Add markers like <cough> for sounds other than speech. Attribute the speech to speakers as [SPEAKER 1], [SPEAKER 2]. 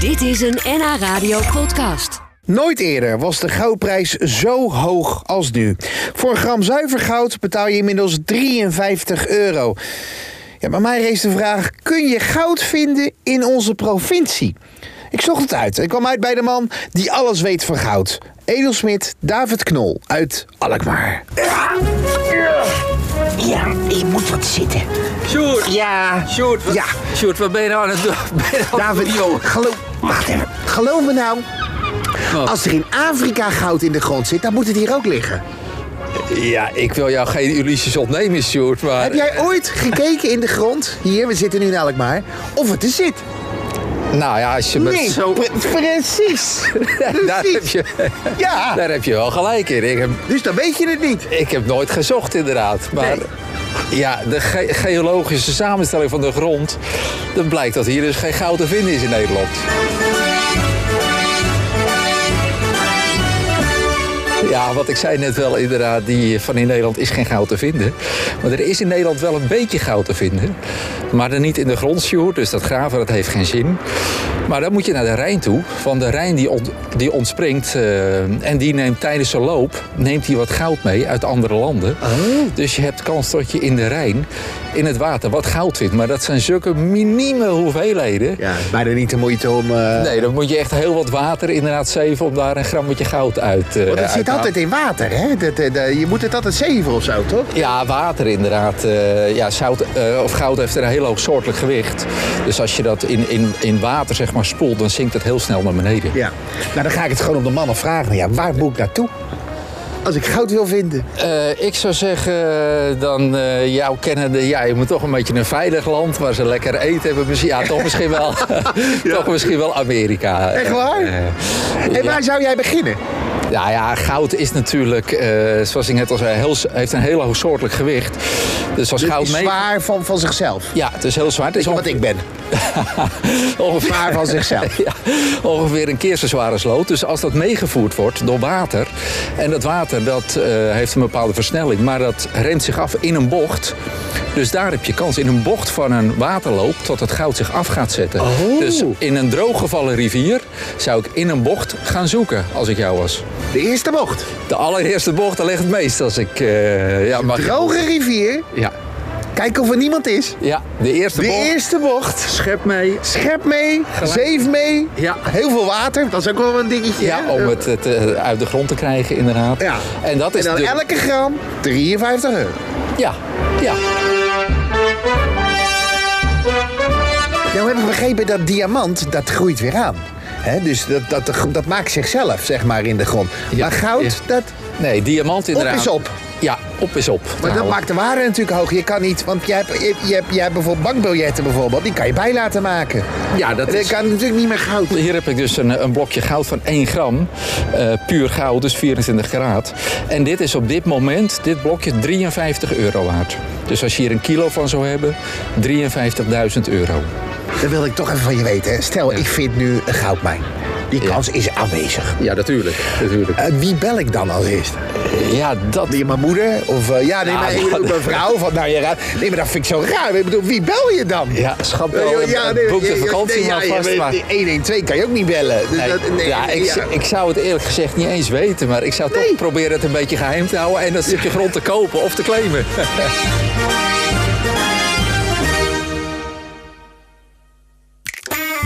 [SPEAKER 1] Dit is een NH Radio podcast.
[SPEAKER 2] Nooit eerder was de goudprijs zo hoog als nu. Voor een gram zuiver goud betaal je inmiddels 53 euro. Ja, bij mij rees de vraag: kun je goud vinden in onze provincie? Ik zocht het uit. Ik kwam uit bij de man die alles weet van goud. Edelsmid David Knol uit Alkmaar.
[SPEAKER 3] Ja, ik moet wat zitten.
[SPEAKER 4] Sjoerd!
[SPEAKER 3] Ja,
[SPEAKER 4] Sjoerd, wat,
[SPEAKER 2] Ja.
[SPEAKER 4] Sjoerd, wat ben je nou aan het doen? Ben je nou aan het
[SPEAKER 2] David,
[SPEAKER 4] doen, joh?
[SPEAKER 2] geloof, wacht even. geloof me nou,
[SPEAKER 4] Wat?
[SPEAKER 2] als er in Afrika goud in de grond zit, dan moet het hier ook liggen.
[SPEAKER 4] Ja, ik wil jou geen illusies ontnemen, Sjoerd, maar...
[SPEAKER 2] Heb jij ooit gekeken in de grond, hier, we zitten nu in Alkmaar, of het er zit?
[SPEAKER 4] Nou ja, als je met
[SPEAKER 2] Nee,
[SPEAKER 4] zo...
[SPEAKER 2] pre- <laughs> precies.
[SPEAKER 4] <laughs> Daar heb,
[SPEAKER 2] precies.
[SPEAKER 4] je,
[SPEAKER 2] Ja,
[SPEAKER 4] daar heb je wel gelijk in. Ik heb,
[SPEAKER 2] dus dan weet je het niet.
[SPEAKER 4] ik heb nooit gezocht, inderdaad. Maar ja, de ge- geologische samenstelling van de grond... dan blijkt dat hier dus geen goud te vinden is in Nederland. Ja, wat ik zei net wel inderdaad, die eh, van in Nederland is geen goud te vinden. Maar er is in Nederland wel een beetje goud te vinden. Maar dan niet in de grondsjoer, dus dat graven dat heeft geen zin. Maar dan moet je naar de Rijn toe. Van de Rijn die, ont- die ontspringt eh, en die neemt tijdens zijn loop neemt hij wat goud mee uit andere landen.
[SPEAKER 2] Oh.
[SPEAKER 4] Dus je hebt kans dat je in de Rijn, in het water, wat goud vindt. Maar dat zijn zulke minieme hoeveelheden.
[SPEAKER 2] Ja, bijna niet de moeite om... eh,
[SPEAKER 4] Nee, dan moet je echt heel wat water inderdaad zeven om daar een grammetje goud uit eh
[SPEAKER 2] want het
[SPEAKER 4] uit
[SPEAKER 2] Oh, zit
[SPEAKER 4] te halen.
[SPEAKER 2] altijd in water, hè? Dat, eh, dat- je moet het altijd zeven of zo, toch?
[SPEAKER 4] Ja, water inderdaad. Eh, ja, zout, eh, of goud heeft een heel hoog soortelijk gewicht. Dus als je dat in, in, in water zeg maar, spoelt, dan zinkt het heel snel naar beneden.
[SPEAKER 2] Ja. Nou, dan ga ik het gewoon op de mannen vragen. Ja, waar moet ik naartoe? Als ik goud wil vinden.
[SPEAKER 4] Eh, ik zou zeggen, eh, dan eh jouw kennende, ja, je moet toch een beetje een veilig land waar ze lekker eten hebben. Misschien, ja, toch misschien
[SPEAKER 2] <laughs>
[SPEAKER 4] wel, <laughs> toch misschien wel Amerika.
[SPEAKER 2] Echt waar?
[SPEAKER 4] Eh,
[SPEAKER 2] En
[SPEAKER 4] ja.
[SPEAKER 2] waar zou jij beginnen?
[SPEAKER 4] Nou ja, goud is natuurlijk, eh, zoals ik net al zei, heel, heeft een heel hoog soortelijk gewicht. Dus als
[SPEAKER 2] Het
[SPEAKER 4] goud
[SPEAKER 2] is
[SPEAKER 4] mee...
[SPEAKER 2] zwaar van, van zichzelf.
[SPEAKER 4] Ja, het is heel zwaar. Het is
[SPEAKER 2] Weet je wat
[SPEAKER 4] <laughs>
[SPEAKER 2] ik ben?
[SPEAKER 4] ongeveer...
[SPEAKER 2] Zwaar van zichzelf.
[SPEAKER 4] <laughs> Ja, ongeveer een keer zo zware sloot. Dus als dat meegevoerd wordt door water... en dat water dat, eh, heeft een bepaalde versnelling... maar dat remt zich af in een bocht. Dus daar heb je kans in een bocht van een waterloop... tot het goud zich af gaat zetten.
[SPEAKER 2] Oh.
[SPEAKER 4] Dus in een drooggevallen rivier zou ik in een bocht gaan zoeken... als ik jou was.
[SPEAKER 2] <laughs> De eerste bocht.
[SPEAKER 4] De allereerste bocht, daar ligt het meest als ik... eh, ja, mag
[SPEAKER 2] Droge rivier.
[SPEAKER 4] Ja.
[SPEAKER 2] Kijk of er niemand is.
[SPEAKER 4] ja, de eerste
[SPEAKER 2] De
[SPEAKER 4] bocht.
[SPEAKER 2] eerste bocht.
[SPEAKER 4] Schep mee.
[SPEAKER 2] Schep mee, zeef mee,
[SPEAKER 4] Ja.
[SPEAKER 2] heel veel water. Dat is ook wel een dingetje.
[SPEAKER 4] Ja,
[SPEAKER 2] hè?
[SPEAKER 4] om het, het, eh, uit de grond te krijgen inderdaad.
[SPEAKER 2] Ja.
[SPEAKER 4] En dat is
[SPEAKER 2] en dan
[SPEAKER 4] natuurlijk-
[SPEAKER 2] elke gram 53 euro.
[SPEAKER 4] Ja, ja.
[SPEAKER 2] Nou heb ik begrepen dat diamant, dat groeit weer aan. Hè, dus dat, dat, dat maakt zichzelf, zeg maar, in de grond.
[SPEAKER 4] Ja,
[SPEAKER 2] Maar goud,
[SPEAKER 4] ja.
[SPEAKER 2] dat...
[SPEAKER 4] Nee, diamant inderdaad.
[SPEAKER 2] is op.
[SPEAKER 4] Ja, op is op.
[SPEAKER 2] Maar dat
[SPEAKER 4] Nou,
[SPEAKER 2] maakt de waarde natuurlijk hoog. Je kan niet, want je hebt, je, je hebt, je hebt bijvoorbeeld bankbiljetten bijvoorbeeld, die kan je bij laten maken.
[SPEAKER 4] Ja, dat is-
[SPEAKER 2] kan natuurlijk niet meer goud.
[SPEAKER 4] Hier heb ik dus een, een blokje goud van 1 gram. eh, puur goud, dus 24 graad. En dit is op dit moment, dit blokje, 53 euro waard. Dus als je hier een kilo van zou hebben, 53.000 euro.
[SPEAKER 2] Dat wil ik toch even van je weten. hè. Stel, ik vind nu een goudmijn. Die kans is aanwezig.
[SPEAKER 4] Ja, natuurlijk. natuurlijk.
[SPEAKER 2] Eh, wie bel ik dan als eerste?
[SPEAKER 4] Eh, Ja, dat...
[SPEAKER 2] Die mijn moeder? Of eh, ja, nee,
[SPEAKER 4] Ja,
[SPEAKER 2] maar,
[SPEAKER 4] ja,
[SPEAKER 2] ik bedoel,
[SPEAKER 4] nee.
[SPEAKER 2] mijn vrouw? Van, nou, ja, raar. nee, maar dat vind ik zo raar. Ik bedoel, wie bel je dan?
[SPEAKER 4] Ja, schat wel,
[SPEAKER 2] Eh, joh,
[SPEAKER 4] en- en boek de
[SPEAKER 2] joh,
[SPEAKER 4] vakantie
[SPEAKER 2] nee,
[SPEAKER 4] maar
[SPEAKER 2] ja, je
[SPEAKER 4] vast,
[SPEAKER 2] weet,
[SPEAKER 4] maar-
[SPEAKER 2] die 112 kan je ook niet bellen. Dus
[SPEAKER 4] Nee,
[SPEAKER 2] dat- nee,
[SPEAKER 4] ja, ik,
[SPEAKER 2] ja.
[SPEAKER 4] ik zou het eerlijk gezegd niet eens weten, maar ik zou
[SPEAKER 2] Nee.
[SPEAKER 4] toch proberen het een beetje geheim te houden en dat stukje grond te kopen of te claimen.